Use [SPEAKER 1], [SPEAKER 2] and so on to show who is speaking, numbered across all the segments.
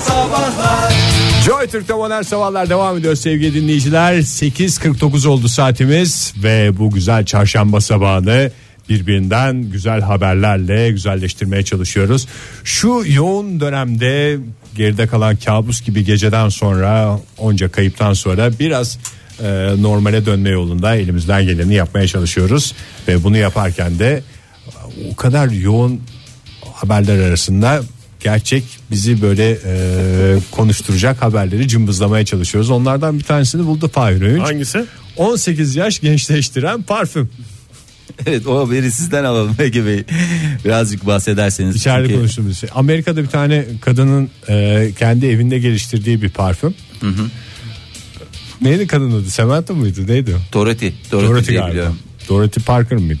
[SPEAKER 1] Sabahlar
[SPEAKER 2] Joy Türk'te modern sabahlar devam ediyor sevgili dinleyiciler. 8.49 oldu saatimiz ve bu güzel çarşamba sabahını birbirinden güzel haberlerle güzelleştirmeye çalışıyoruz. Şu yoğun dönemde geride kalan kabus gibi geceden sonra onca kayıptan sonra biraz e, normale dönme yolunda elimizden geleni yapmaya çalışıyoruz. Ve bunu yaparken de o kadar yoğun haberler arasında gerçek bizi böyle e, konuşturacak haberleri cımbızlamaya çalışıyoruz. Onlardan bir tanesini buldu Fahir Öğünç.
[SPEAKER 3] Hangisi?
[SPEAKER 2] 18 yaş gençleştiren parfüm.
[SPEAKER 1] Evet o haberi sizden alalım Ege Bey. Birazcık bahsederseniz.
[SPEAKER 2] İçeride
[SPEAKER 1] Çünkü
[SPEAKER 2] konuştuğumuz şey. Amerika'da bir tane kadının e, kendi evinde geliştirdiği bir parfüm. Neydi kadın adı? Samantha mıydı? Neydi? o?
[SPEAKER 1] Dorothy. Dorothy,
[SPEAKER 2] Dorothy
[SPEAKER 1] diye
[SPEAKER 2] galiba.
[SPEAKER 1] biliyorum.
[SPEAKER 2] Dorothy Parker mıydı?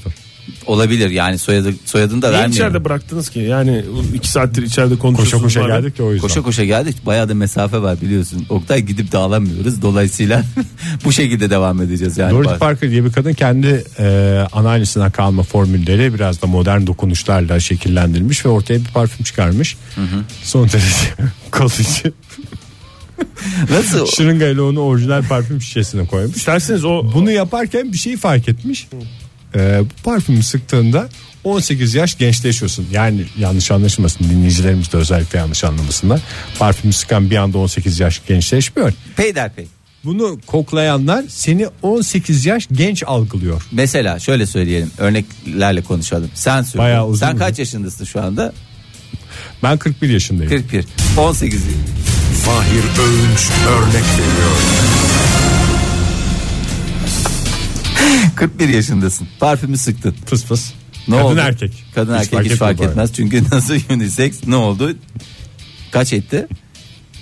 [SPEAKER 1] Olabilir yani soyadı, soyadını da
[SPEAKER 3] Niye
[SPEAKER 1] vermiyorum.
[SPEAKER 3] içeride bıraktınız ki? Yani iki saattir içeride
[SPEAKER 2] Koşa
[SPEAKER 3] konuşuyorsunuz.
[SPEAKER 2] koşa
[SPEAKER 3] madem.
[SPEAKER 2] geldik de o yüzden.
[SPEAKER 1] Koşa koşa geldik bayağı da mesafe var biliyorsun. Oktay gidip dağılamıyoruz. Dolayısıyla bu şekilde devam edeceğiz yani.
[SPEAKER 2] Dorothy
[SPEAKER 1] Bak-
[SPEAKER 2] Parker diye bir kadın kendi e, anneannesinden kalma formülleri biraz da modern dokunuşlarla şekillendirilmiş ve ortaya bir parfüm çıkarmış. Son derece kalıcı.
[SPEAKER 1] Nasıl?
[SPEAKER 2] Şırıngayla onu orijinal parfüm şişesine koymuş.
[SPEAKER 3] İsterseniz o
[SPEAKER 2] Bunu yaparken bir şeyi fark etmiş. E, bu parfümü sıktığında 18 yaş gençleşiyorsun. Yani yanlış anlaşılmasın dinleyicilerimiz de özellikle yanlış anlamasınlar. Parfümü sıkan bir anda 18 yaş gençleşmiyor.
[SPEAKER 1] Peyderpey.
[SPEAKER 2] Bunu koklayanlar seni 18 yaş genç algılıyor.
[SPEAKER 1] Mesela şöyle söyleyelim örneklerle konuşalım. Sen söyle.
[SPEAKER 2] Bayağı uzun
[SPEAKER 1] Sen
[SPEAKER 2] mu?
[SPEAKER 1] kaç yaşındasın şu anda?
[SPEAKER 2] Ben 41 yaşındayım.
[SPEAKER 1] 41. 18.
[SPEAKER 4] Fahir Öğünç örnek veriyor.
[SPEAKER 1] 41 yaşındasın. Parfümü sıktın.
[SPEAKER 2] Fıs fıs.
[SPEAKER 1] Ne
[SPEAKER 2] Kadın
[SPEAKER 1] oldu?
[SPEAKER 2] erkek.
[SPEAKER 1] Kadın erkek hiç
[SPEAKER 2] etmiyor
[SPEAKER 1] fark
[SPEAKER 2] bu arada.
[SPEAKER 1] etmez. Çünkü nasıl unisex ne oldu? Kaç etti?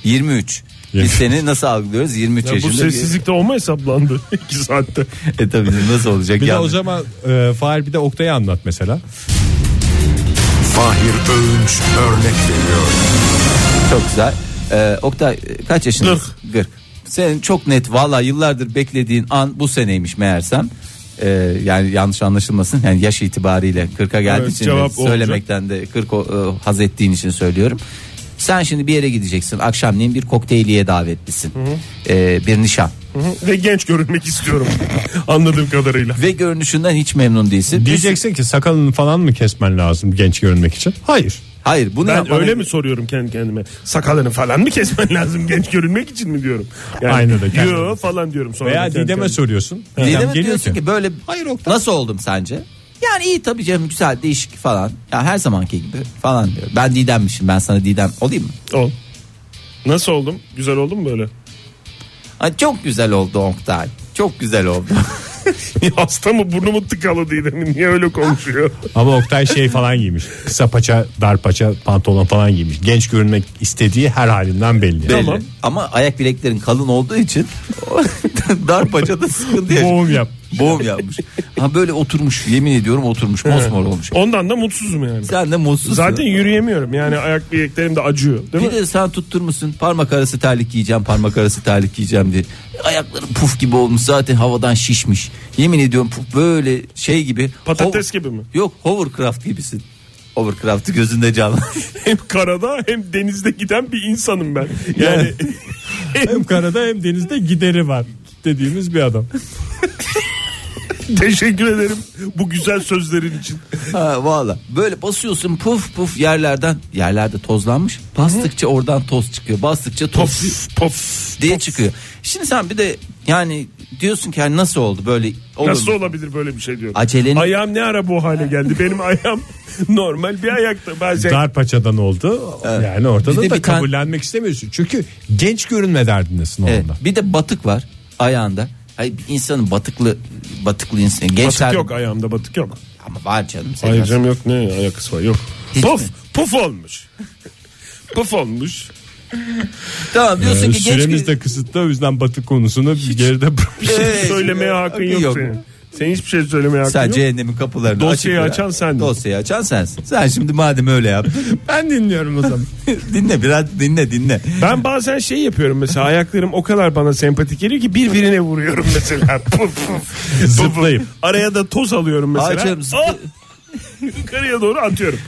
[SPEAKER 1] 23. Biz
[SPEAKER 2] Yirmi-
[SPEAKER 1] seni nasıl algılıyoruz? 23
[SPEAKER 3] Ya bu
[SPEAKER 1] yaşında. bir-
[SPEAKER 3] sessizlikte o mu hesaplandı? iki saatte.
[SPEAKER 1] E tabii nasıl olacak?
[SPEAKER 2] Bir de
[SPEAKER 1] Yani
[SPEAKER 2] o zaman e, Fahir bir de Oktay'ı anlat mesela.
[SPEAKER 4] Fahir Öğünç örnek veriyor.
[SPEAKER 1] Çok güzel. Ee, Oktay e, kaç yaşındasın? 40. Senin çok net valla yıllardır beklediğin an bu seneymiş meğersem. Ee, yani yanlış anlaşılmasın. Yani yaş itibariyle 40'a geldiği
[SPEAKER 3] Evet,
[SPEAKER 1] için
[SPEAKER 3] cevap o
[SPEAKER 1] söylemekten de 40 o- e, haz ettiğin için söylüyorum. Sen şimdi bir yere gideceksin. Akşamleyin bir kokteyliye davetlisin. Ee, bir nişan.
[SPEAKER 3] Ve genç görünmek istiyorum. Anladığım kadarıyla.
[SPEAKER 1] Ve görünüşünden hiç memnun değilsin.
[SPEAKER 2] Diyeceksin ki sakalını falan mı kesmen lazım genç görünmek için? Hayır.
[SPEAKER 1] Hayır bunu
[SPEAKER 3] Ben
[SPEAKER 1] yapmana-
[SPEAKER 3] öyle mi soruyorum kendi kendime? Sakalını falan mı kesmen lazım genç görünmek için mi diyorum? Yani,
[SPEAKER 2] Aynada kendi-
[SPEAKER 3] Yo falan diyorum sonra.
[SPEAKER 2] Veya
[SPEAKER 3] kendi kendime.
[SPEAKER 2] Didem'e soruyorsun.
[SPEAKER 1] Didem'e
[SPEAKER 2] Didem geliyor
[SPEAKER 1] diyorsun ki, böyle
[SPEAKER 2] Hayır Oktay.
[SPEAKER 1] nasıl oldum sence? Yani iyi tabii canım güzel değişik falan. Ya her zamanki gibi falan diyor. Ben Didem'mişim ben sana Didem olayım mı?
[SPEAKER 3] Ol. Nasıl oldum? Güzel oldum mu böyle?
[SPEAKER 1] Ay, çok güzel oldu Oktay. Çok güzel oldu.
[SPEAKER 3] Hasta mı burnumu tıkalı Didem'in? Niye öyle konuşuyor?
[SPEAKER 2] Ama Oktay şey falan giymiş. Kısa paça, dar paça, pantolon falan giymiş. Genç görünmek istediği her halinden belli.
[SPEAKER 1] Belli. Ama ayak bileklerin kalın olduğu için dar paçada sıkıntı yaşıyor.
[SPEAKER 2] Boğum yap.
[SPEAKER 1] Boğum yapmış. Ha böyle oturmuş yemin ediyorum oturmuş mosmor olmuş.
[SPEAKER 3] Ondan da mutsuzum yani.
[SPEAKER 1] Sen de mutsuzsun.
[SPEAKER 3] Zaten yürüyemiyorum yani ayak bileklerim de acıyor değil
[SPEAKER 1] bir
[SPEAKER 3] mi?
[SPEAKER 1] de sen tutturmuşsun parmak arası terlik giyeceğim parmak arası terlik giyeceğim diye. Ayakların puf gibi olmuş zaten havadan şişmiş. Yemin ediyorum puf böyle şey gibi.
[SPEAKER 3] Patates gibi mi?
[SPEAKER 1] Yok hovercraft gibisin. Hovercraft'ı gözünde canlı.
[SPEAKER 3] Hem karada hem denizde giden bir insanım ben. Yani
[SPEAKER 2] hem karada hem denizde gideri var dediğimiz bir adam.
[SPEAKER 3] teşekkür ederim bu güzel sözlerin için.
[SPEAKER 1] Ha, valla böyle basıyorsun puf puf yerlerden yerlerde tozlanmış bastıkça oradan toz çıkıyor bastıkça toz
[SPEAKER 3] Pof pof.
[SPEAKER 1] diye çıkıyor şimdi sen bir de yani diyorsun ki yani nasıl oldu böyle olur
[SPEAKER 3] Nasıl
[SPEAKER 1] mu?
[SPEAKER 3] olabilir böyle bir şey diyorum.
[SPEAKER 1] acelenin
[SPEAKER 3] Ayağım ne ara bu hale geldi? Benim ayağım normal bir ayakta bazen.
[SPEAKER 2] Dar paçadan oldu. Yani ortada
[SPEAKER 1] Bir de
[SPEAKER 2] da
[SPEAKER 1] bir tane-
[SPEAKER 2] kabullenmek istemiyorsun. Çünkü genç görünme derdindesin
[SPEAKER 1] Evet,
[SPEAKER 2] onda.
[SPEAKER 1] bir de batık var ayağında Hayır, bir insanın batıklı batıklı insan gençler
[SPEAKER 3] Batık yok ayağımda batık yok.
[SPEAKER 1] ama var canım senin
[SPEAKER 3] Hayır canım yok ne ayakısı var yok.
[SPEAKER 1] Hiç
[SPEAKER 3] puf
[SPEAKER 1] mi?
[SPEAKER 3] puf olmuş. puf olmuş.
[SPEAKER 1] tamam diyorsun
[SPEAKER 2] Ee,
[SPEAKER 1] ki genç
[SPEAKER 2] süremiz de kısıtlı o yüzden batık konusunu bir geride bırakmışız.
[SPEAKER 1] Evet.
[SPEAKER 3] şey Söylemeye hakkın yok,
[SPEAKER 1] yok.
[SPEAKER 3] senin. Senin hiçbir şey söylemeye hakkın
[SPEAKER 1] sen
[SPEAKER 3] yok.
[SPEAKER 1] cehennemin kapılarını
[SPEAKER 3] Dosyayı
[SPEAKER 1] açık bırak.
[SPEAKER 3] açan sendin.
[SPEAKER 1] Dosyayı açan sensin. Sen şimdi madem öyle yaptın
[SPEAKER 2] ben dinliyorum o zaman.
[SPEAKER 1] dinle biraz dinle dinle.
[SPEAKER 3] Ben bazen şey yapıyorum mesela ayaklarım o kadar bana sempatik geliyor ki birbirine vuruyorum mesela. Puf puf.
[SPEAKER 2] Zıplayıp.
[SPEAKER 3] Araya da toz alıyorum mesela.
[SPEAKER 1] Ağacım
[SPEAKER 3] Ah!
[SPEAKER 1] zıpl-
[SPEAKER 3] yukarıya doğru atıyorum.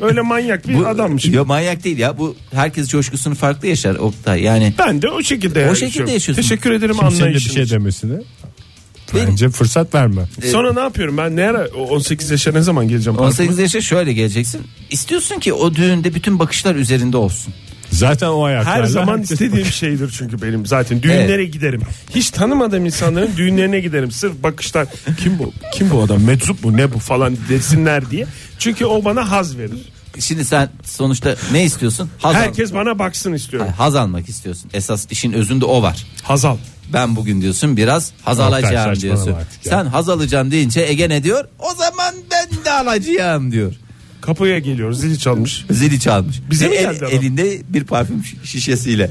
[SPEAKER 3] Öyle manyak bir adammışım.
[SPEAKER 1] Yo, manyak değil ya bu herkes coşkusunu farklı yaşar Oktay yani.
[SPEAKER 3] Ben de o şekilde yaşıyorum.
[SPEAKER 1] şekilde yaşıyorsun.
[SPEAKER 3] Teşekkür ederim
[SPEAKER 2] Kimsenin de bir
[SPEAKER 3] anlayışınız.
[SPEAKER 2] şey demesine.
[SPEAKER 1] Benim-
[SPEAKER 2] Bence fırsat verme.
[SPEAKER 3] Sonra ne yapıyorum ben? Ne ara o 18 yaşa ne zaman geleceğim?
[SPEAKER 1] 18 yaşa şöyle geleceksin. İstiyorsun ki o düğünde bütün bakışlar üzerinde olsun.
[SPEAKER 2] Zaten o ayaklarla.
[SPEAKER 3] Her zaman
[SPEAKER 2] herkes-
[SPEAKER 3] istediğim şeydir çünkü benim zaten. Düğünlere giderim. Hiç tanımadığım insanların düğünlerine giderim. Sırf bakıştan kim bu? Kim bu adam? Meczup mu? Ne bu falan desinler diye. Çünkü o bana haz verir.
[SPEAKER 1] Şimdi sen sonuçta ne istiyorsun? Haz, al-
[SPEAKER 3] Herkes bana baksın istiyorum.
[SPEAKER 1] Hayır, haz almak istiyorsun. Esas işin özünde o var.
[SPEAKER 3] Hazal.
[SPEAKER 1] Ben bugün diyorsun biraz haz alacağım
[SPEAKER 2] saçmalama
[SPEAKER 1] diyorsun.
[SPEAKER 2] artık ya.
[SPEAKER 1] Sen haz alacağım deyince Ege ne diyor? O zaman ben de alacağım diyor.
[SPEAKER 3] Kapıya geliyor. Zili çalmış.
[SPEAKER 1] Zili çalmış.
[SPEAKER 3] Bize
[SPEAKER 1] Ve
[SPEAKER 3] mi
[SPEAKER 1] el-
[SPEAKER 3] geldi adam?
[SPEAKER 1] elinde bir parfüm şi- şişesiyle.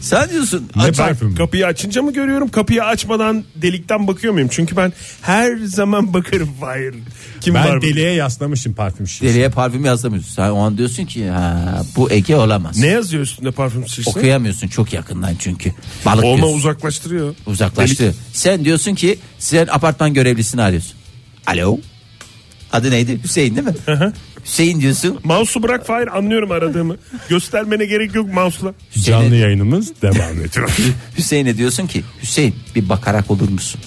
[SPEAKER 1] Sen diyorsun
[SPEAKER 2] Ne
[SPEAKER 1] "Aç-
[SPEAKER 2] parfüm? bu?
[SPEAKER 3] Kapıyı açınca mı görüyorum? Kapıyı açmadan delikten bakıyor muyum? Çünkü ben her zaman bakarım. Hayır. Kim var?
[SPEAKER 2] Ben
[SPEAKER 3] mı?
[SPEAKER 2] deliğe yaslamışım parfüm şişesi.
[SPEAKER 1] deliye parfüm yazamıyorsun. Sen o an diyorsun ki ha, bu Ege olamaz.
[SPEAKER 3] Ne yazıyor üstünde parfüm şişesi?
[SPEAKER 1] Okuyamıyorsun çok yakından çünkü. Balık
[SPEAKER 3] Olma
[SPEAKER 1] diyorsun.
[SPEAKER 3] uzaklaştırıyor.
[SPEAKER 1] Uzaklaştı.
[SPEAKER 3] Delik-
[SPEAKER 1] Sen diyorsun ki sen apartman görevlisini arıyorsun. Alo. Adı neydi? Hüseyin değil mi? Hüseyin diyorsun.
[SPEAKER 3] Mouse'u bırak Fahir anlıyorum aradığımı. Göstermene gerek yok mouse'la.
[SPEAKER 2] Canlı yayınımız devam ediyor.
[SPEAKER 1] Hüseyin'e diyorsun ki Hüseyin bir bakarak olur musun?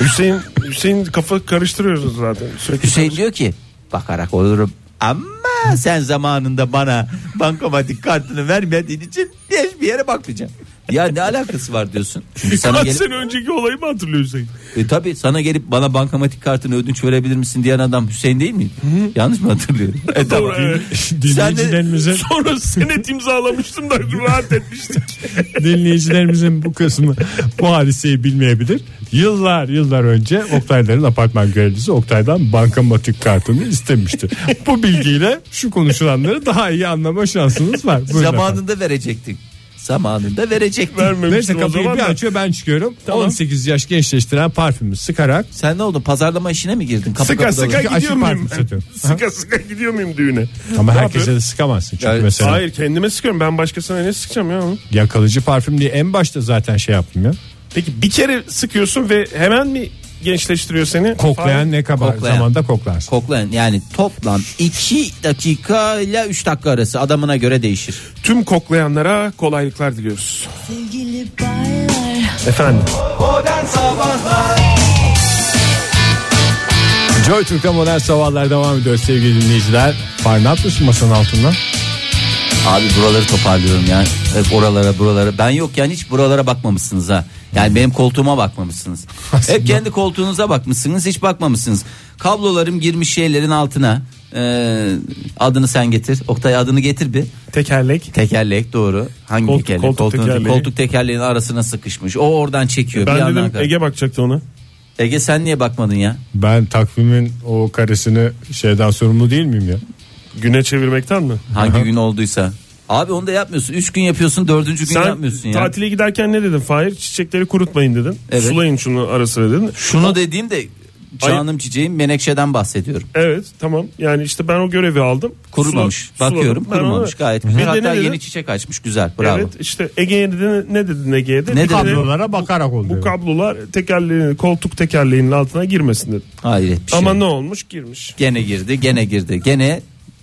[SPEAKER 3] Hüseyin Hüseyin kafa karıştırıyoruz zaten. Sürekli
[SPEAKER 1] Hüseyin diyor ki bakarak olurum ama sen zamanında bana bankamatik kartını vermediğin için hiçbir yere bakmayacağım. Ya ne alakası var diyorsun. Çünkü sana
[SPEAKER 3] Kaç
[SPEAKER 1] gelip,
[SPEAKER 3] sene önceki olayı mı hatırlıyor Hüseyin?
[SPEAKER 1] e, tabii sana gelip bana bankamatik kartını ödünç verebilir misin diyen adam Hüseyin değil mi? Yanlış mı hatırlıyorum? E, tamam.
[SPEAKER 3] Doğru, evet.
[SPEAKER 2] dinleyicilerimizin,
[SPEAKER 3] Sonra senet imzalamıştım da rahat etmiştik.
[SPEAKER 2] dinleyicilerimizin bu kısmı bu hadiseyi bilmeyebilir. Yıllar yıllar önce Oktay'ların apartman görevlisi Oktay'dan bankamatik kartını istemişti. Bu bilgiyle şu konuşulanları daha iyi anlama şansınız var. Buyurun efendim.
[SPEAKER 1] Zamanında verecektin. Zamanında verecektin.
[SPEAKER 2] Neyse
[SPEAKER 3] Vermemiştim o
[SPEAKER 2] kapıyı
[SPEAKER 3] zaman.
[SPEAKER 2] bir
[SPEAKER 3] da.
[SPEAKER 2] açıyor ben çıkıyorum.
[SPEAKER 3] Tamam.
[SPEAKER 2] 18 yaş gençleştiren parfümü sıkarak
[SPEAKER 1] Sen ne oldu? Pazarlama işine mi girdin? Kapı
[SPEAKER 3] Sıka
[SPEAKER 1] kapıda
[SPEAKER 3] sıka
[SPEAKER 1] dolaşıyorsun.
[SPEAKER 2] aşı
[SPEAKER 3] gidiyor
[SPEAKER 2] parfüm
[SPEAKER 3] muyum?
[SPEAKER 2] satıyorum.
[SPEAKER 3] sıka sıka gidiyor muyum düğüne?
[SPEAKER 2] ama
[SPEAKER 3] Ne
[SPEAKER 2] herkese
[SPEAKER 3] yapıyorum?
[SPEAKER 2] de sıkamazsın. Çünkü
[SPEAKER 1] Yani-
[SPEAKER 2] mesela
[SPEAKER 3] Hayır kendime sıkıyorum. Ben başkasına ne sıkacağım ya?
[SPEAKER 2] yakalıcı parfüm diye en başta zaten şey yaptım ya.
[SPEAKER 3] Peki bir kere sıkıyorsun ve hemen mi gençleştiriyor seni?
[SPEAKER 2] Koklayan ne kadar
[SPEAKER 1] Koklayan.
[SPEAKER 2] zamanda koklarsın.
[SPEAKER 1] Koklayan yani toplam 2 dakika ile 3 dakika arası adamına göre değişir.
[SPEAKER 3] Tüm koklayanlara kolaylıklar diliyoruz.
[SPEAKER 5] Sevgili baylar
[SPEAKER 3] Efendim.
[SPEAKER 2] Joy Türk'te modern sabahlar devam ediyor sevgili dinleyiciler. Far ne yapıyorsun masanın altında?
[SPEAKER 1] Abi buraları toparlıyorum ya. Hep oralara buralara. Ben yokken hiç buralara bakmamışsınız ha. Yani benim koltuğuma bakmamışsınız. Hep kendi koltuğunuza bakmışsınız hiç bakmamışsınız. Kablolarım girmiş şeylerin altına. Ee, adını sen getir. Oktay adını getir bir.
[SPEAKER 3] Tekerlek.
[SPEAKER 1] Tekerlek doğru. Hangi
[SPEAKER 3] Koltuk,
[SPEAKER 1] tekerlek?
[SPEAKER 3] koltuk
[SPEAKER 1] Koltuğun-
[SPEAKER 3] tekerleği. E,
[SPEAKER 1] koltuk tekerleğinin arasına sıkışmış. O oradan çekiyor. bir
[SPEAKER 3] Ben
[SPEAKER 1] yandan
[SPEAKER 3] dedim
[SPEAKER 1] kar- Ege...
[SPEAKER 3] Ege bakacaktı ona.
[SPEAKER 1] sen niye bakmadın ya?
[SPEAKER 2] Ben takvimin o karesini şeyden sorumlu değil miyim ya?
[SPEAKER 3] Güne çevirmekten mi?
[SPEAKER 1] Hangi gün olduysa. Abi onu da yapmıyorsun. Üç gün yapıyorsun dördüncü gün yapmıyorsun
[SPEAKER 3] Sen
[SPEAKER 1] ya.
[SPEAKER 3] tatile giderken ne dedin Fahir? Çiçekleri kurutmayın dedin.
[SPEAKER 1] Evet.
[SPEAKER 3] Sulayın şunu ara sıra dedin.
[SPEAKER 1] Şunu dediğimde canım çiçeğim menekşeden bahsediyorum.
[SPEAKER 3] Evet tamam yani işte ben o görevi aldım.
[SPEAKER 1] Kurumamış.
[SPEAKER 3] Sula-
[SPEAKER 1] Bakıyorum
[SPEAKER 3] suladım. Ben
[SPEAKER 1] kurumamış
[SPEAKER 3] onu-
[SPEAKER 1] gayet
[SPEAKER 3] Bir
[SPEAKER 1] güzel.
[SPEAKER 3] de
[SPEAKER 1] Hatta
[SPEAKER 3] ne dedin?
[SPEAKER 1] yeni çiçek açmış güzel bravo.
[SPEAKER 3] Evet işte Ege'ye dedi, ne dedin Ege'ye de?
[SPEAKER 1] Ne
[SPEAKER 3] Bir
[SPEAKER 1] dedin?
[SPEAKER 3] kere
[SPEAKER 2] Kablolara bakarak oluyor.
[SPEAKER 3] Bu kablolar tekerleğin, koltuk tekerleğinin altına girmesin dedi.
[SPEAKER 1] Hayret bir şey.
[SPEAKER 3] Ama ne olmuş girmiş.
[SPEAKER 1] Gene girdi gene girdi gene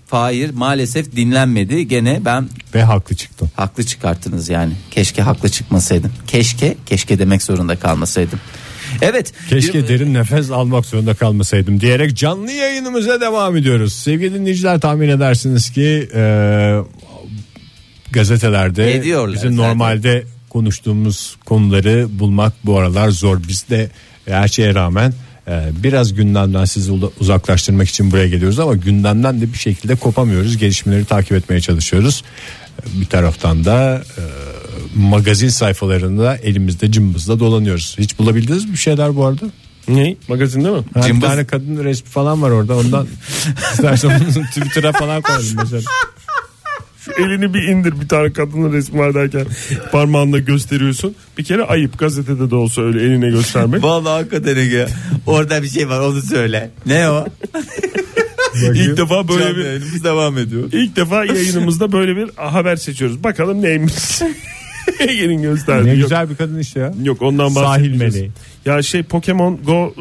[SPEAKER 1] Fahir maalesef dinlenmedi. Gene ben
[SPEAKER 2] Ve haklı çıktım.
[SPEAKER 1] haklı çıkarttınız yani. Keşke haklı çıkmasaydım. Keşke keşke demek zorunda kalmasaydım. Evet.
[SPEAKER 2] Keşke
[SPEAKER 1] Bir-
[SPEAKER 2] derin nefes almak zorunda kalmasaydım diyerek canlı yayınımıza devam ediyoruz. Sevgili dinleyiciler tahmin edersiniz ki e, gazetelerde
[SPEAKER 1] Ediyorlar
[SPEAKER 2] bizim
[SPEAKER 1] zaten.
[SPEAKER 2] normalde konuştuğumuz konuları bulmak bu aralar zor. Biz de her şeye rağmen e, biraz gündemden sizi ula- uzaklaştırmak için buraya geliyoruz ama gündemden de bir şekilde kopamıyoruz. Gelişmeleri takip etmeye çalışıyoruz. E, Bir taraftan da e, magazin sayfalarında elimizde cımbızla dolanıyoruz. Hiç bulabildiniz mi bir şeyler bu arada?
[SPEAKER 3] Ne? Magazinde mi?
[SPEAKER 2] Ha, Bir
[SPEAKER 1] Cımbız-
[SPEAKER 2] tane kadın resmi falan var orada ondan istersen onu Twitter'a falan koyalım mesela.
[SPEAKER 3] Şu elini bir indir bir tane kadının resmi var derken parmağınla gösteriyorsun. Bir kere ayıp gazetede de olsa öyle eline göstermek.
[SPEAKER 1] Vallahi hakikaten Ege. Orada bir şey var onu söyle. Ne o?
[SPEAKER 2] Bakayım.
[SPEAKER 3] İlk defa böyle
[SPEAKER 1] Canlı
[SPEAKER 3] bir
[SPEAKER 1] yayınımız devam ediyor.
[SPEAKER 3] İlk defa yayınımızda böyle bir haber seçiyoruz. Bakalım neymiş. Ege'nin gösterdiği.
[SPEAKER 2] Ne
[SPEAKER 3] Yok.
[SPEAKER 2] güzel bir kadın işte ya.
[SPEAKER 3] Yok ondan
[SPEAKER 2] Sahil
[SPEAKER 3] bahsetmeyeceğiz.
[SPEAKER 2] meleği.
[SPEAKER 3] Ya şey Pokemon Go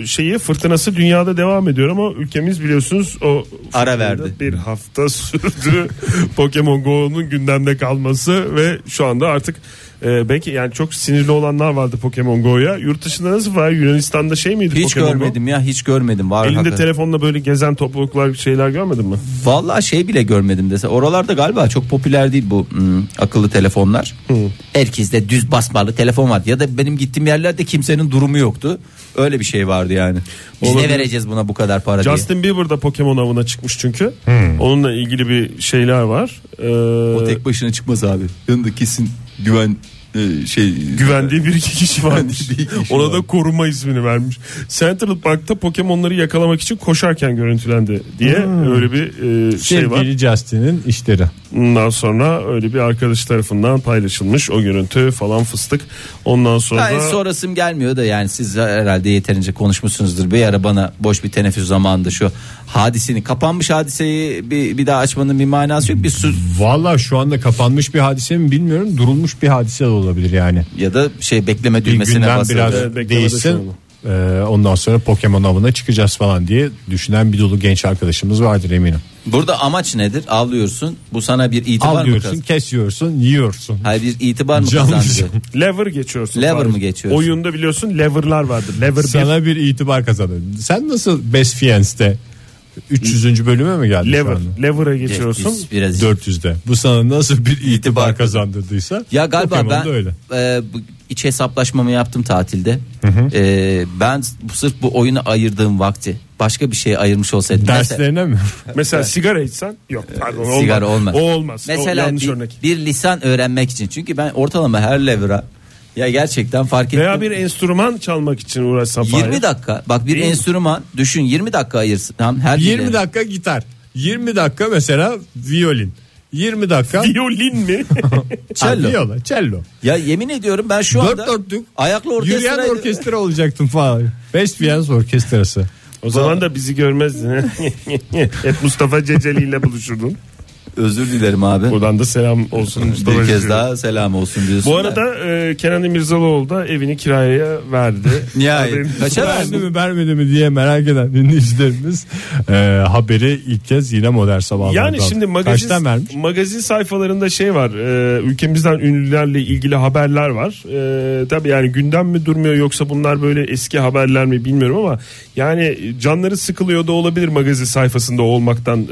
[SPEAKER 3] e, şeyi fırtınası dünyada devam ediyor ama ülkemiz biliyorsunuz o
[SPEAKER 1] Ara
[SPEAKER 3] fırtınada
[SPEAKER 1] verdi.
[SPEAKER 3] Bir hafta sürdü Pokemon Go'nun gündemde kalması ve şu anda artık e, belki yani çok sinirli olanlar vardı Pokemon Go'ya. Yurt dışında nasıl var? Yunanistan'da şey miydi
[SPEAKER 1] Hiç
[SPEAKER 3] Pokemon
[SPEAKER 1] görmedim ya hiç görmedim. Var
[SPEAKER 3] Go? Elinde
[SPEAKER 1] hakikaten.
[SPEAKER 3] telefonla böyle gezen topluluklar şeyler görmedin mi?
[SPEAKER 1] Vallahi şey bile görmedim dese. Oralarda galiba çok popüler değil bu hmm, akıllı telefonlar. Herkeste düz basmalı telefon vardı. Ya da benim gittiğim yerlerde kimsenin durumu yoktu. Öyle bir şey vardı yani. Biz
[SPEAKER 3] Olabilir.
[SPEAKER 1] ne vereceğiz buna bu kadar para diye.
[SPEAKER 3] Justin Bieber da Pokemon avına çıkmış çünkü. Onunla ilgili bir şeyler var. Ee,
[SPEAKER 1] O tek başına çıkmaz abi. Yanında kesin güven e, şey
[SPEAKER 3] Güvendiği bir iki kişi varmış.
[SPEAKER 1] Güvendiği bir iki kişi
[SPEAKER 3] Ona da
[SPEAKER 1] varmış.
[SPEAKER 3] koruma ismini vermiş. Central Park'ta Pokemon'ları yakalamak için koşarken görüntülendi diye öyle bir e, şey var.
[SPEAKER 2] Sevgili Justin'in işleri.
[SPEAKER 3] Ondan sonra öyle bir arkadaş tarafından paylaşılmış o görüntü falan fıstık. Ondan sonra
[SPEAKER 1] Ben sorasım gelmiyor da yani siz herhalde yeterince konuşmuşsunuzdur. Bir ara bana boş bir teneffüs zamanında şu hadisini kapanmış hadiseyi bir, bir daha açmanın bir manası yok. Bir su
[SPEAKER 2] Valla şu anda kapanmış bir hadise mi bilmiyorum. Durulmuş bir hadise de olabilir yani.
[SPEAKER 1] ya da şey
[SPEAKER 2] Bir
[SPEAKER 1] bekleme düğmesine
[SPEAKER 2] günden
[SPEAKER 1] basıldı.
[SPEAKER 2] biraz
[SPEAKER 3] Evet, beklemede
[SPEAKER 1] şey
[SPEAKER 3] şu
[SPEAKER 2] değişsin. Ee, ondan sonra Pokemon avına çıkacağız falan diye düşünen bir dolu genç arkadaşımız vardır eminim.
[SPEAKER 1] Burada amaç nedir? Avlıyorsun. Bu sana bir itibar mı
[SPEAKER 2] Alıyorsun,
[SPEAKER 1] kazandırıyor?
[SPEAKER 2] kesiyorsun, yiyorsun.
[SPEAKER 1] Hayır bir itibar mı
[SPEAKER 2] Canlı
[SPEAKER 1] kazandırıyor?
[SPEAKER 3] lever geçiyorsun.
[SPEAKER 1] Lever
[SPEAKER 3] Fahir.
[SPEAKER 1] mi geçiyorsun?
[SPEAKER 3] Oyunda biliyorsun lever'lar vardır. Lever 1,
[SPEAKER 2] Sana bir itibar kazandın. Sen nasıl Best Fiance'de 300. bölüme mi geldin şu
[SPEAKER 3] lever.
[SPEAKER 2] anda?
[SPEAKER 3] Lever'a geçiyorsun.
[SPEAKER 1] Biz biraz
[SPEAKER 2] 400'de. Bu sana nasıl bir itibar kazandırdıysa
[SPEAKER 1] Ya galiba
[SPEAKER 2] Pokemon'da
[SPEAKER 1] ben
[SPEAKER 2] öyle.
[SPEAKER 1] e, bu iç hesaplaşmamı yaptım tatilde. E, ben bu- sırf bu oyuna ayırdığım vakti başka bir şeye ayırmış olsaydım. Mesela-
[SPEAKER 2] Derslerine mi?
[SPEAKER 3] Mesela sigara içsen yok pardon olmaz.
[SPEAKER 1] Ee, sigara olmaz.
[SPEAKER 3] O olmaz. O
[SPEAKER 1] Mesela
[SPEAKER 3] yanlış
[SPEAKER 1] bir,
[SPEAKER 3] örnek.
[SPEAKER 1] bir lisan öğrenmek için. Çünkü ben ortalama her levra ya gerçekten fark ettim.
[SPEAKER 3] Veya bir enstrüman çalmak için uğraşsan Fahir.
[SPEAKER 1] 20 dakika. Bak bir
[SPEAKER 3] Değil mi?
[SPEAKER 1] enstrüman düşün 20 dakika ayırsam her
[SPEAKER 2] 20
[SPEAKER 1] biri-
[SPEAKER 2] dakika gitar. 20 dakika mesela violin. 20 dakika
[SPEAKER 3] Violin mi?
[SPEAKER 1] Cello.
[SPEAKER 2] Ha, viola, cello.
[SPEAKER 1] Ya yemin ediyorum ben şu
[SPEAKER 2] Dört
[SPEAKER 1] anda
[SPEAKER 2] dörtlük
[SPEAKER 1] ayaklı
[SPEAKER 2] Yürüyen
[SPEAKER 1] orkestraydı.
[SPEAKER 2] orkestra olacaktın falan. Best Fiance orkestrası.
[SPEAKER 3] O zaman da bizi görmezdin. Hep Mustafa Ceceli ile buluşurdun.
[SPEAKER 1] Özür dilerim abi.
[SPEAKER 3] Buradan da selam olsun Mustafa
[SPEAKER 1] Bir kez
[SPEAKER 3] Ceceli.
[SPEAKER 1] daha selam olsun diyorsun.
[SPEAKER 3] Bu
[SPEAKER 1] da.
[SPEAKER 3] arada e, Kenan İmirzalıoğlu da evini kiraya verdi.
[SPEAKER 1] Nihayet.
[SPEAKER 3] Haberiniz-
[SPEAKER 1] Kaça
[SPEAKER 2] Verdi
[SPEAKER 1] verdin?
[SPEAKER 2] mi vermedi mi diye merak eden dinleyicilerimiz e, haberi ilk kez yine modern sabahlarda.
[SPEAKER 3] Yani
[SPEAKER 2] aldı.
[SPEAKER 3] şimdi
[SPEAKER 2] Kaçtan vermiş?
[SPEAKER 3] magazin, magazin sayfalarında şey var. e, ülkemizden ünlülerle ilgili haberler var. E, tabii yani gündem mi durmuyor yoksa bunlar böyle eski haberler mi bilmiyorum ama yani canları sıkılıyor da olabilir magazin sayfasında olmaktan e,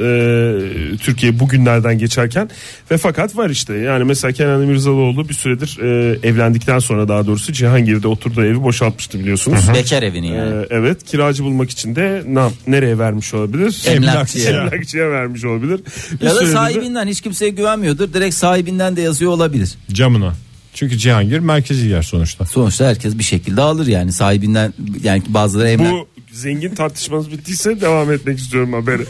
[SPEAKER 3] Türkiye bugünlerden geçerken ve fakat var işte. Yani mesela Kenan İmirzalıoğlu bir süredir e, evlendikten sonra daha doğrusu Cihangir'de oturduğu evi boşaltmıştı biliyorsunuz.
[SPEAKER 1] Bekar evini
[SPEAKER 3] E,
[SPEAKER 1] yani.
[SPEAKER 3] evet kiracı bulmak için de ne, yap- nereye vermiş olabilir?
[SPEAKER 1] Emlakçıya.
[SPEAKER 3] Emlakçıya vermiş olabilir. Bir
[SPEAKER 1] ya da
[SPEAKER 3] süredir de-
[SPEAKER 1] sahibinden hiç kimseye güvenmiyordur. Direkt sahibinden de yazıyor olabilir.
[SPEAKER 2] Camına. Çünkü Cihangir merkezi yer sonuçta.
[SPEAKER 1] Sonuçta herkes bir şekilde alır yani sahibinden yani bazıları emlak.
[SPEAKER 3] Bu zengin tartışmanız bittiyse devam etmek istiyorum haberi.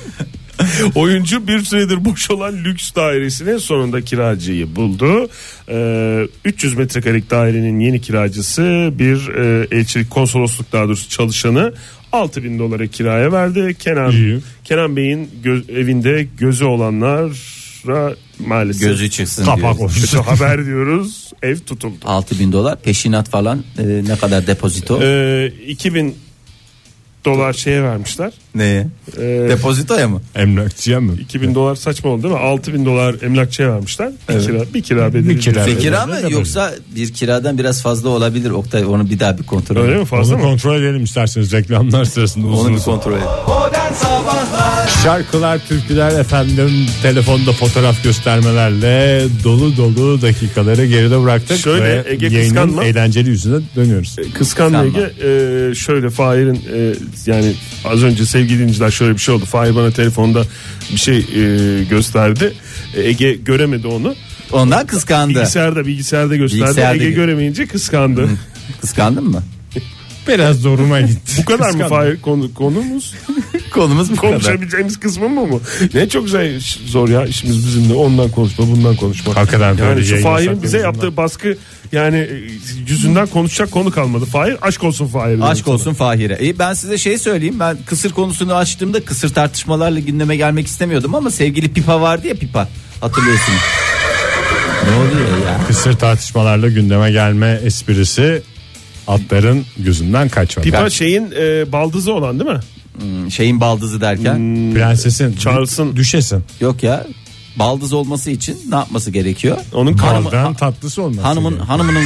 [SPEAKER 3] Oyuncu bir süredir boş olan lüks dairesine sonunda kiracıyı buldu. Ee, 300 metrekarelik dairenin yeni kiracısı bir e, elçilik konsolosluk daha doğrusu çalışanı 6000 dolara kiraya verdi. Kenan
[SPEAKER 2] İyi.
[SPEAKER 3] Kenan Bey'in gö- evinde gözü olanlara maalesef
[SPEAKER 1] Gözü çıksın diyor.
[SPEAKER 2] Kapak olmuş.
[SPEAKER 3] kötü haber diyoruz. Ev tutuldu.
[SPEAKER 1] 6000 dolar peşinat falan e, ne kadar depozito?
[SPEAKER 3] Ee, 2000 dolar şeye vermişler.
[SPEAKER 1] Neye?
[SPEAKER 3] Ee,
[SPEAKER 1] Depozitoya mı?
[SPEAKER 2] Emlakçıya mı?
[SPEAKER 3] 2000 dolar saçma oldu değil mi? 6000 dolar emlakçıya vermişler. Bir kira, bir şey. kira bedeli.
[SPEAKER 2] Bir kira.
[SPEAKER 3] ödedi.
[SPEAKER 1] Peki kira mı
[SPEAKER 2] Depozito.
[SPEAKER 1] yoksa bir kiradan biraz fazla olabilir Oktay onu bir daha bir kontrol
[SPEAKER 3] Öyle
[SPEAKER 1] et.
[SPEAKER 3] mi fazla
[SPEAKER 2] Onu
[SPEAKER 3] mı?
[SPEAKER 2] kontrol edelim isterseniz reklamlar sırasında uzun
[SPEAKER 1] Onu bir
[SPEAKER 2] uzun.
[SPEAKER 1] kontrol et.
[SPEAKER 2] Şarkılar, türküler efendim telefonda fotoğraf göstermelerle dolu dolu dakikaları geride bıraktık.
[SPEAKER 3] Şöyle,
[SPEAKER 2] ve
[SPEAKER 3] Ege
[SPEAKER 2] yayının
[SPEAKER 3] kıskanma. E,
[SPEAKER 2] eğlenceli yüzüne dönüyoruz.
[SPEAKER 3] Kıskanma
[SPEAKER 1] Kıskanma.
[SPEAKER 3] Ege e, şöyle Fahir'in e, yani az önce sevgili dinleyiciler şöyle bir şey oldu. Fahir bana telefonda bir şey e, gösterdi. E, Ege göremedi onu.
[SPEAKER 1] Ondan kıskandı.
[SPEAKER 3] Bilgisayarda bilgisayarda gösterdi.
[SPEAKER 1] Bilgisayarda
[SPEAKER 3] Ege
[SPEAKER 1] gö-
[SPEAKER 3] göremeyince kıskandı.
[SPEAKER 1] Kıskandın mı?
[SPEAKER 2] Biraz zoruma gitti.
[SPEAKER 3] Bu kadar mı
[SPEAKER 2] Kıskanma.
[SPEAKER 3] Fahir konu, konumuz?
[SPEAKER 1] Konumuz bu kadar.
[SPEAKER 3] Konuşabileceğimiz kısmı mı bu? Ne çok zor, zor ya işimiz bizim de ondan konuşma bundan konuşma.
[SPEAKER 2] Hakikaten böyle
[SPEAKER 3] Yani şu
[SPEAKER 2] yayını
[SPEAKER 3] Fahir'in bize
[SPEAKER 2] saklamamızdan.
[SPEAKER 3] yaptığı baskı yani e, yüzünden konuşacak konu kalmadı. Fahir aşk olsun Fahir. benim
[SPEAKER 1] Aşk
[SPEAKER 3] sana.
[SPEAKER 1] olsun Fahir'e. İyi ben size şey söyleyeyim. Ben kısır konusunu açtığımda kısır tartışmalarla gündeme gelmek istemiyordum ama sevgili Pipa vardı ya Pipa. Hatırlıyorsunuz. Ne oluyor ya?
[SPEAKER 2] Kısır tartışmalarla gündeme gelme esprisi atların gözünden kaçmadı.
[SPEAKER 3] Pipa şeyin e, baldızı olan değil mi?
[SPEAKER 1] Şeyin baldızı derken.
[SPEAKER 3] Hmm.
[SPEAKER 2] Prensesin,
[SPEAKER 3] Charles'ın-
[SPEAKER 2] düşesin.
[SPEAKER 1] Yok ya. Baldız olması için ne yapması gerekiyor?
[SPEAKER 3] Onun
[SPEAKER 1] Hanımı-
[SPEAKER 2] Baldan tatlısı olmaz.
[SPEAKER 1] Hanımın hanımının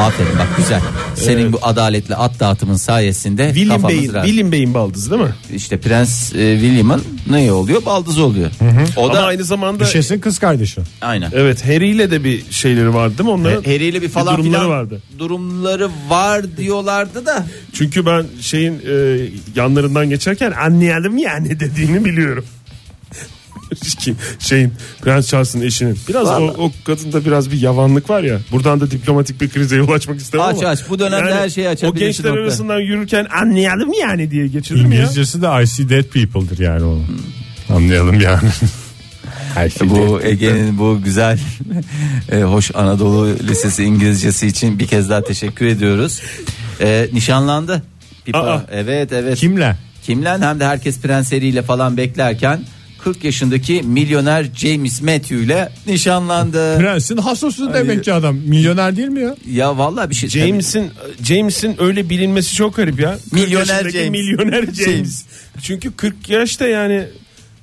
[SPEAKER 1] Aferin bak güzel. Senin bu adaletli at dağıtımın sayesinde
[SPEAKER 3] William
[SPEAKER 1] kafamız
[SPEAKER 3] Bey'in,
[SPEAKER 1] rahat.
[SPEAKER 3] William Bey'in baldızı değil mi?
[SPEAKER 1] İşte Prens e, William'ın neyi oluyor? Baldızı oluyor. O
[SPEAKER 3] Ama e,
[SPEAKER 1] da
[SPEAKER 3] aynı zamanda
[SPEAKER 2] düşesin kız kardeşi.
[SPEAKER 1] aynen.
[SPEAKER 3] evet Harry ile de bir şeyleri vardı değil mi onların?
[SPEAKER 1] Heriyle E, bir falan
[SPEAKER 3] durumları
[SPEAKER 1] filan
[SPEAKER 3] vardı.
[SPEAKER 1] durumları var diyorlardı da.
[SPEAKER 3] Çünkü ben şeyin e, yanlarından geçerken anlayalım yani dediğini biliyorum. Ki şeyin Prens Charles'ın eşinin. Biraz o,
[SPEAKER 1] Vallahi.
[SPEAKER 3] o kadında biraz bir yavanlık var ya. Buradan da diplomatik bir krize yol açmak istemem
[SPEAKER 1] Aç,
[SPEAKER 3] ama.
[SPEAKER 1] aç. Bu dönemde her şeyi
[SPEAKER 3] O
[SPEAKER 1] açabilirsin
[SPEAKER 3] gençler
[SPEAKER 1] nokta.
[SPEAKER 3] arasından yürürken anlayalım yani diye geçirir mi ya?
[SPEAKER 2] İngilizcesi de I see dead people'dır yani onu. Anlayalım yani. I see
[SPEAKER 1] Hmm. Bu
[SPEAKER 2] dead
[SPEAKER 1] Ege'nin bu güzel e, hoş Anadolu Lisesi İngilizcesi için bir kez daha teşekkür ediyoruz. E, nişanlandı. Pipa.
[SPEAKER 3] Aa.
[SPEAKER 1] Evet evet.
[SPEAKER 2] Kimle?
[SPEAKER 1] Kimlen hem de herkes Prens Harry ile falan beklerken 40 yaşındaki milyoner James Matthew ile nişanlandı.
[SPEAKER 2] Prensin hasosu demek ki adam. Milyoner değil mi ya?
[SPEAKER 1] ya vallahi bir şey.
[SPEAKER 3] James'in James'in öyle bilinmesi çok garip ya. 40
[SPEAKER 1] Milyoner
[SPEAKER 3] yaşındaki
[SPEAKER 1] James.
[SPEAKER 3] Milyoner James.
[SPEAKER 1] James.
[SPEAKER 3] Çünkü 40 yaşta yani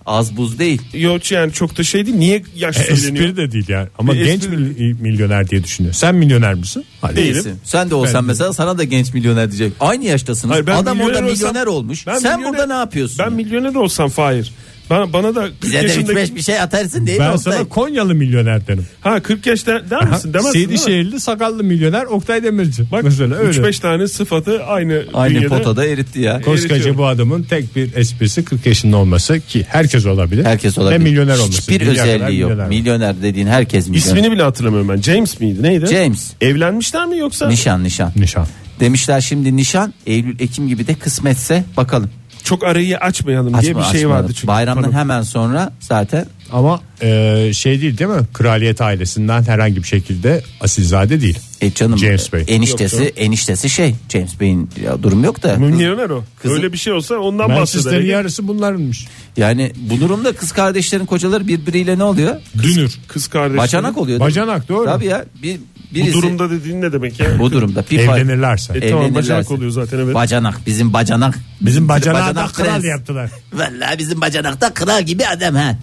[SPEAKER 1] Az buz değil.
[SPEAKER 3] yok yani çok da şey değil. Niye yaş söyleniyor?
[SPEAKER 2] E, Espri de değil yani. Ama
[SPEAKER 1] E,
[SPEAKER 3] Bir
[SPEAKER 2] genç
[SPEAKER 3] espri-
[SPEAKER 2] mil- milyoner diye düşünüyor. Sen milyoner misin? Hayır.
[SPEAKER 1] Değilsin. Sen de olsan
[SPEAKER 2] Ben de.
[SPEAKER 1] mesela sana da genç milyoner diyecek. Aynı yaştasınız.
[SPEAKER 3] Hayır, ben
[SPEAKER 1] Adam orada
[SPEAKER 3] milyoner olsam-
[SPEAKER 1] milyoner olmuş.
[SPEAKER 3] Ben
[SPEAKER 1] Sen
[SPEAKER 3] milyoner-
[SPEAKER 1] burada ne yapıyorsun?
[SPEAKER 3] Ben milyoner olsam Fahir. Bana, bana da 40
[SPEAKER 1] Bize de üç
[SPEAKER 3] yaşındaki...
[SPEAKER 1] beş bir şey atarsın değil mi?
[SPEAKER 2] Ben
[SPEAKER 1] Oktay?
[SPEAKER 2] sana Konyalı milyoner derim.
[SPEAKER 3] Ha 40 yaş der, der misin? Demezsin değil mi?
[SPEAKER 2] Seydişehirli sakallı milyoner Oktay Demirci.
[SPEAKER 3] Bak
[SPEAKER 2] şey mesela öyle.
[SPEAKER 3] 3-5 tane sıfatı aynı,
[SPEAKER 1] Aynı
[SPEAKER 3] bünyede.
[SPEAKER 1] potada eritti ya.
[SPEAKER 2] Koskoca
[SPEAKER 3] Eritiyorum.
[SPEAKER 2] bu adamın tek bir esprisi 40 yaşında olması ki herkes olabilir.
[SPEAKER 1] Herkes olabilir.
[SPEAKER 2] Ve milyoner olması.
[SPEAKER 1] Hiçbir
[SPEAKER 2] Dünya kadar
[SPEAKER 1] özelliği yok.
[SPEAKER 2] milyoner.
[SPEAKER 1] Milyoner, dediğin herkes milyoner.
[SPEAKER 3] İsmini bile hatırlamıyorum ben. James miydi neydi?
[SPEAKER 1] James.
[SPEAKER 3] Evlenmişler mi yoksa?
[SPEAKER 1] Nişan nişan.
[SPEAKER 2] Nişan.
[SPEAKER 1] Demişler şimdi nişan Eylül Ekim gibi de kısmetse bakalım.
[SPEAKER 3] Çok arayı açmayalım diye
[SPEAKER 1] Açma,
[SPEAKER 3] bir şey
[SPEAKER 1] açma.
[SPEAKER 3] vardı çünkü.
[SPEAKER 1] Bayramdan hemen sonra zaten
[SPEAKER 2] Ama e, şey değil değil mi? Kraliyet ailesinden herhangi bir şekilde asilzade değil.
[SPEAKER 1] e, canım
[SPEAKER 2] James Bey.
[SPEAKER 1] eniştesi
[SPEAKER 3] Yok
[SPEAKER 1] eniştesi şey James Bey'in ya, durum yok da.
[SPEAKER 3] Milyoner o.
[SPEAKER 1] Kızım-
[SPEAKER 3] Öyle bir şey olsa ondan
[SPEAKER 2] Manchester'ın
[SPEAKER 3] bahseder.
[SPEAKER 2] yarısı bunlarmış.
[SPEAKER 1] Yani bu durumda kız kardeşlerin kocaları birbiriyle ne oluyor?
[SPEAKER 2] Dünür.
[SPEAKER 3] Kız kardeşi.
[SPEAKER 1] Bacanak oluyor. değil mi?
[SPEAKER 2] Bacanak doğru.
[SPEAKER 1] Tabii ya. Bir,
[SPEAKER 3] Bu
[SPEAKER 1] birisi,
[SPEAKER 3] durumda dediğin ne demek ya?
[SPEAKER 1] bu durumda pipa
[SPEAKER 2] Evlenirlerse.
[SPEAKER 3] E, tamam,
[SPEAKER 1] Evlenirlerse.
[SPEAKER 3] bacanak oluyor zaten evet.
[SPEAKER 1] bacanak bizim bacanak.
[SPEAKER 2] Bizim bacanağı da
[SPEAKER 1] bacanak
[SPEAKER 2] kral
[SPEAKER 1] prens.
[SPEAKER 2] yaptılar.
[SPEAKER 1] Vallahi bizim bacanakta kral gibi adam ha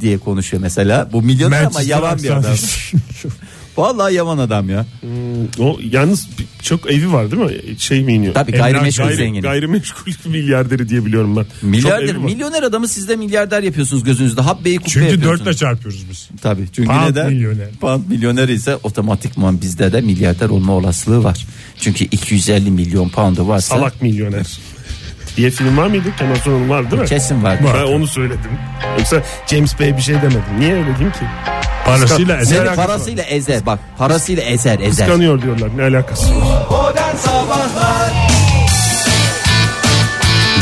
[SPEAKER 1] diye konuşuyor mesela. Bu milyoner ama
[SPEAKER 2] Manchester
[SPEAKER 1] yavan bir adam.
[SPEAKER 2] aksanı.
[SPEAKER 1] Vallahi yavan adam ya.
[SPEAKER 3] O yalnız bir- çok evi var değil mi? Şey mi iniyor?
[SPEAKER 1] Tabii
[SPEAKER 3] Emlak-
[SPEAKER 1] gayrimeşgul
[SPEAKER 3] gayri-
[SPEAKER 1] zengini.
[SPEAKER 3] Gayrimeşgul milyarderi diye biliyorum ben. Çok
[SPEAKER 1] Milyarder,
[SPEAKER 3] evi var.
[SPEAKER 1] milyoner adamı siz de milyarder yapıyorsunuz gözünüzde. Habbeyi kupe
[SPEAKER 2] Çünkü
[SPEAKER 1] yapıyorsunuz.
[SPEAKER 2] dörtle çarpıyoruz biz.
[SPEAKER 1] Tabii çünkü
[SPEAKER 2] Pound
[SPEAKER 1] neden?
[SPEAKER 2] milyoner.
[SPEAKER 1] Pound milyoner ise otomatikman bizde de milyarder olma olasılığı var. Çünkü 250 milyon poundu varsa
[SPEAKER 3] Salak milyoner. diye film var mıydı? Kemal Sunal var değil mi?
[SPEAKER 1] kesin var.
[SPEAKER 3] Ben onu söyledim. Yoksa James Bey bir şey demedi. Niye öyle diyeyim ki?
[SPEAKER 2] Parasıyla
[SPEAKER 3] Kıskan-
[SPEAKER 1] Seni
[SPEAKER 2] ezer.
[SPEAKER 3] alakası var?
[SPEAKER 1] parasıyla ezer bak parasıyla ezer ezer.
[SPEAKER 3] Kıskanıyor diyorlar. Ne alakası var?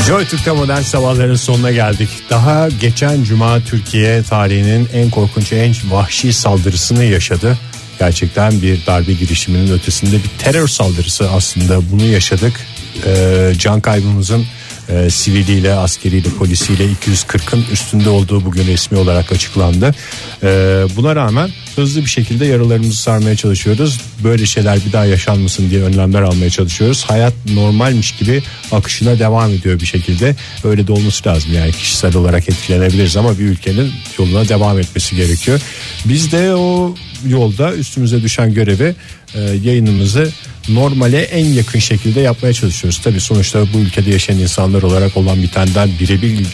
[SPEAKER 2] Joy Türk'te modern sabahların sonuna geldik. Daha geçen cuma Türkiye tarihinin en korkunç, en vahşi saldırısını yaşadı. Gerçekten bir darbe girişiminin ötesinde bir terör saldırısı aslında bunu yaşadık. Ee, can kaybımızın e, siviliyle, askeriyle, polisiyle 240'ın üstünde olduğu bugün resmi olarak açıklandı. Ee, buna rağmen hızlı bir şekilde yaralarımızı sarmaya çalışıyoruz. Böyle şeyler bir daha yaşanmasın diye önlemler almaya çalışıyoruz. Hayat normalmiş gibi akışına devam ediyor bir şekilde. Öyle de olması lazım yani kişisel olarak etkilenebiliriz ama bir ülkenin yoluna devam etmesi gerekiyor. Biz de o yolda üstümüze düşen görevi e, yayınımızı normale en yakın şekilde yapmaya çalışıyoruz. Tabii sonuçta bu ülkede yaşayan insanlar olarak olan bitenden birebir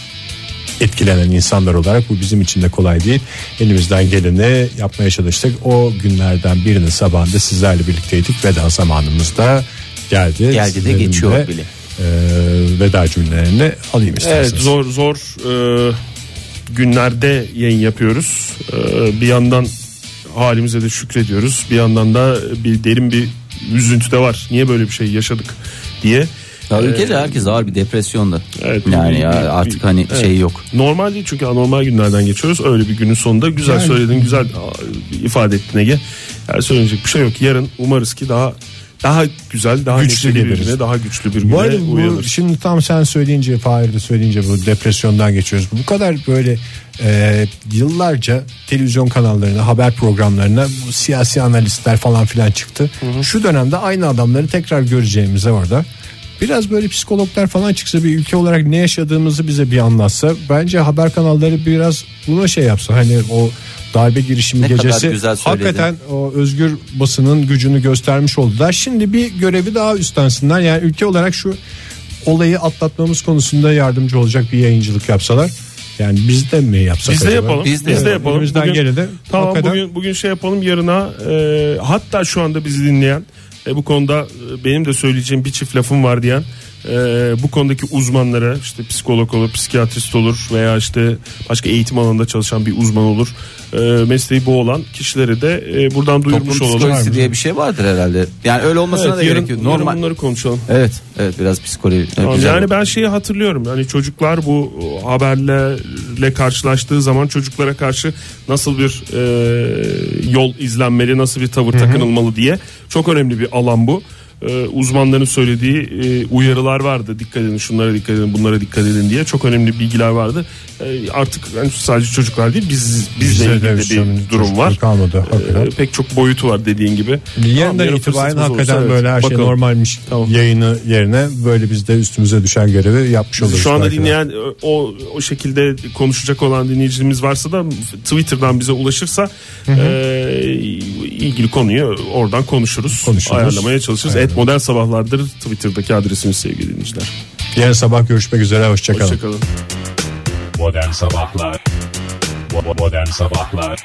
[SPEAKER 2] etkilenen insanlar olarak bu bizim için de kolay değil. Elimizden geleni yapmaya çalıştık. O günlerden birinin sabahında sizlerle birlikteydik. Veda zamanımız da geldi.
[SPEAKER 1] Geldi de
[SPEAKER 2] Sizlerin
[SPEAKER 1] geçiyor bile.
[SPEAKER 2] e, veda cümlelerini alayım isterseniz.
[SPEAKER 3] Evet zor zor e, günlerde yayın yapıyoruz. E, bir yandan halimize de şükrediyoruz. Bir yandan da bir derin bir üzüntü de var. Niye böyle bir şey yaşadık diye.
[SPEAKER 1] Ya
[SPEAKER 3] E,
[SPEAKER 1] ülkede herkes ağır bir depresyonda.
[SPEAKER 3] Evet,
[SPEAKER 1] yani
[SPEAKER 3] bir-
[SPEAKER 1] ya
[SPEAKER 3] bir-
[SPEAKER 1] artık hani
[SPEAKER 3] evet.
[SPEAKER 1] şey yok.
[SPEAKER 3] Normal değil çünkü anormal günlerden geçiyoruz. Öyle bir günün sonunda güzel
[SPEAKER 2] Yani.
[SPEAKER 3] söyledin, güzel a, ifade ettin Ege. Yani söyleyecek bir şey yok. Yarın umarız ki daha daha güzel, daha
[SPEAKER 2] Güçlü
[SPEAKER 3] güçlü bir
[SPEAKER 2] geliriz.
[SPEAKER 3] güne, daha güçlü bir güne
[SPEAKER 2] Bu arada bu
[SPEAKER 3] uyanırız.
[SPEAKER 2] şimdi tam sen söyleyince Fahir de söyleyince bu depresyondan geçiyoruz. Bu kadar böyle e, yıllarca televizyon kanallarına haber programlarına bu siyasi analistler falan filan çıktı. Şu dönemde aynı adamları tekrar göreceğimize orada. Biraz böyle psikologlar falan çıksa bir ülke olarak ne yaşadığımızı bize bir anlatsa bence haber kanalları biraz buna şey yapsa hani o darbe girişimi
[SPEAKER 1] Ne kadar
[SPEAKER 2] gecesi
[SPEAKER 1] güzel söyledin.
[SPEAKER 2] hakikaten o özgür basının gücünü göstermiş oldular. Şimdi bir görevi daha üstlensinler. Yani ülke olarak şu olayı atlatmamız konusunda yardımcı olacak bir yayıncılık yapsalar. Yani biz de mi yapsak?
[SPEAKER 3] Biz de
[SPEAKER 2] acaba?
[SPEAKER 3] yapalım.
[SPEAKER 1] Biz
[SPEAKER 3] Biz
[SPEAKER 1] de
[SPEAKER 3] de,
[SPEAKER 1] yapalım.
[SPEAKER 3] yapalım.
[SPEAKER 2] Elimizden geleni.
[SPEAKER 3] Tamam
[SPEAKER 2] Hakikaten-
[SPEAKER 3] bugün bugün şey yapalım yarına e, hatta şu anda bizi dinleyen e, bu konuda e, benim de söyleyeceğim bir çift lafım var diyen e, bu konudaki uzmanlara işte psikolog olur, psikiyatrist olur veya işte başka eğitim alanında çalışan bir uzman olur. E, mesleği bu olan kişileri de e, buradan
[SPEAKER 1] Toplum
[SPEAKER 3] duyurmuş olalım.
[SPEAKER 1] psikolojisi diye bir şey vardır herhalde. Yani öyle
[SPEAKER 3] Evet,
[SPEAKER 1] olmasına da
[SPEAKER 3] yarın,
[SPEAKER 1] gerek yok.
[SPEAKER 3] yarın
[SPEAKER 1] Normal.
[SPEAKER 3] bunları konuşalım.
[SPEAKER 1] Evet, evet biraz psikoloji.
[SPEAKER 3] Tamam,
[SPEAKER 1] güzel
[SPEAKER 3] yani
[SPEAKER 1] oldu.
[SPEAKER 3] ben şeyi hatırlıyorum. Yani çocuklar bu e, haberlerle karşılaştığı zaman çocuklara karşı nasıl bir e, yol izlenmeli, nasıl bir tavır takınılmalı diye çok önemli bir alan bu. E, uzmanların söylediği e, uyarılar vardı. Dikkat edin şunlara dikkat edin, bunlara dikkat edin diye çok önemli bilgiler vardı. E, artık yani sadece çocuklar değil biz bizle
[SPEAKER 2] Bizde de
[SPEAKER 3] ilgili
[SPEAKER 2] üstlenmiş
[SPEAKER 3] bir durum var.
[SPEAKER 2] kalmadı, hakikaten.
[SPEAKER 3] E, pek çok boyutu var dediğin gibi.
[SPEAKER 2] Yarından
[SPEAKER 3] Tamam, yarın
[SPEAKER 2] itibaren
[SPEAKER 3] fırsatımız
[SPEAKER 2] hakikaten
[SPEAKER 3] olursa, evet,
[SPEAKER 2] böyle her şey
[SPEAKER 3] bakalım.
[SPEAKER 2] normalmiş yayını yerine böyle biz de üstümüze düşen görevi yapmış oluruz.
[SPEAKER 3] Şu anda
[SPEAKER 2] belki de.
[SPEAKER 3] dinleyen e, o o şekilde konuşacak olan dinleyicimiz varsa da Twitter'dan bize ulaşırsa e, ilgili konuyu oradan konuşuruz.
[SPEAKER 2] Konuşuruz.
[SPEAKER 3] Ayarlamaya çalışırız. Et modern sabahlardır Twitter'daki adresimiz sevgili dinleyiciler.
[SPEAKER 2] Yarın sabah görüşmek üzere hoşçakalın.
[SPEAKER 3] Hoşçakalın.
[SPEAKER 6] Modern Sabahlar Bo- Modern Sabahlar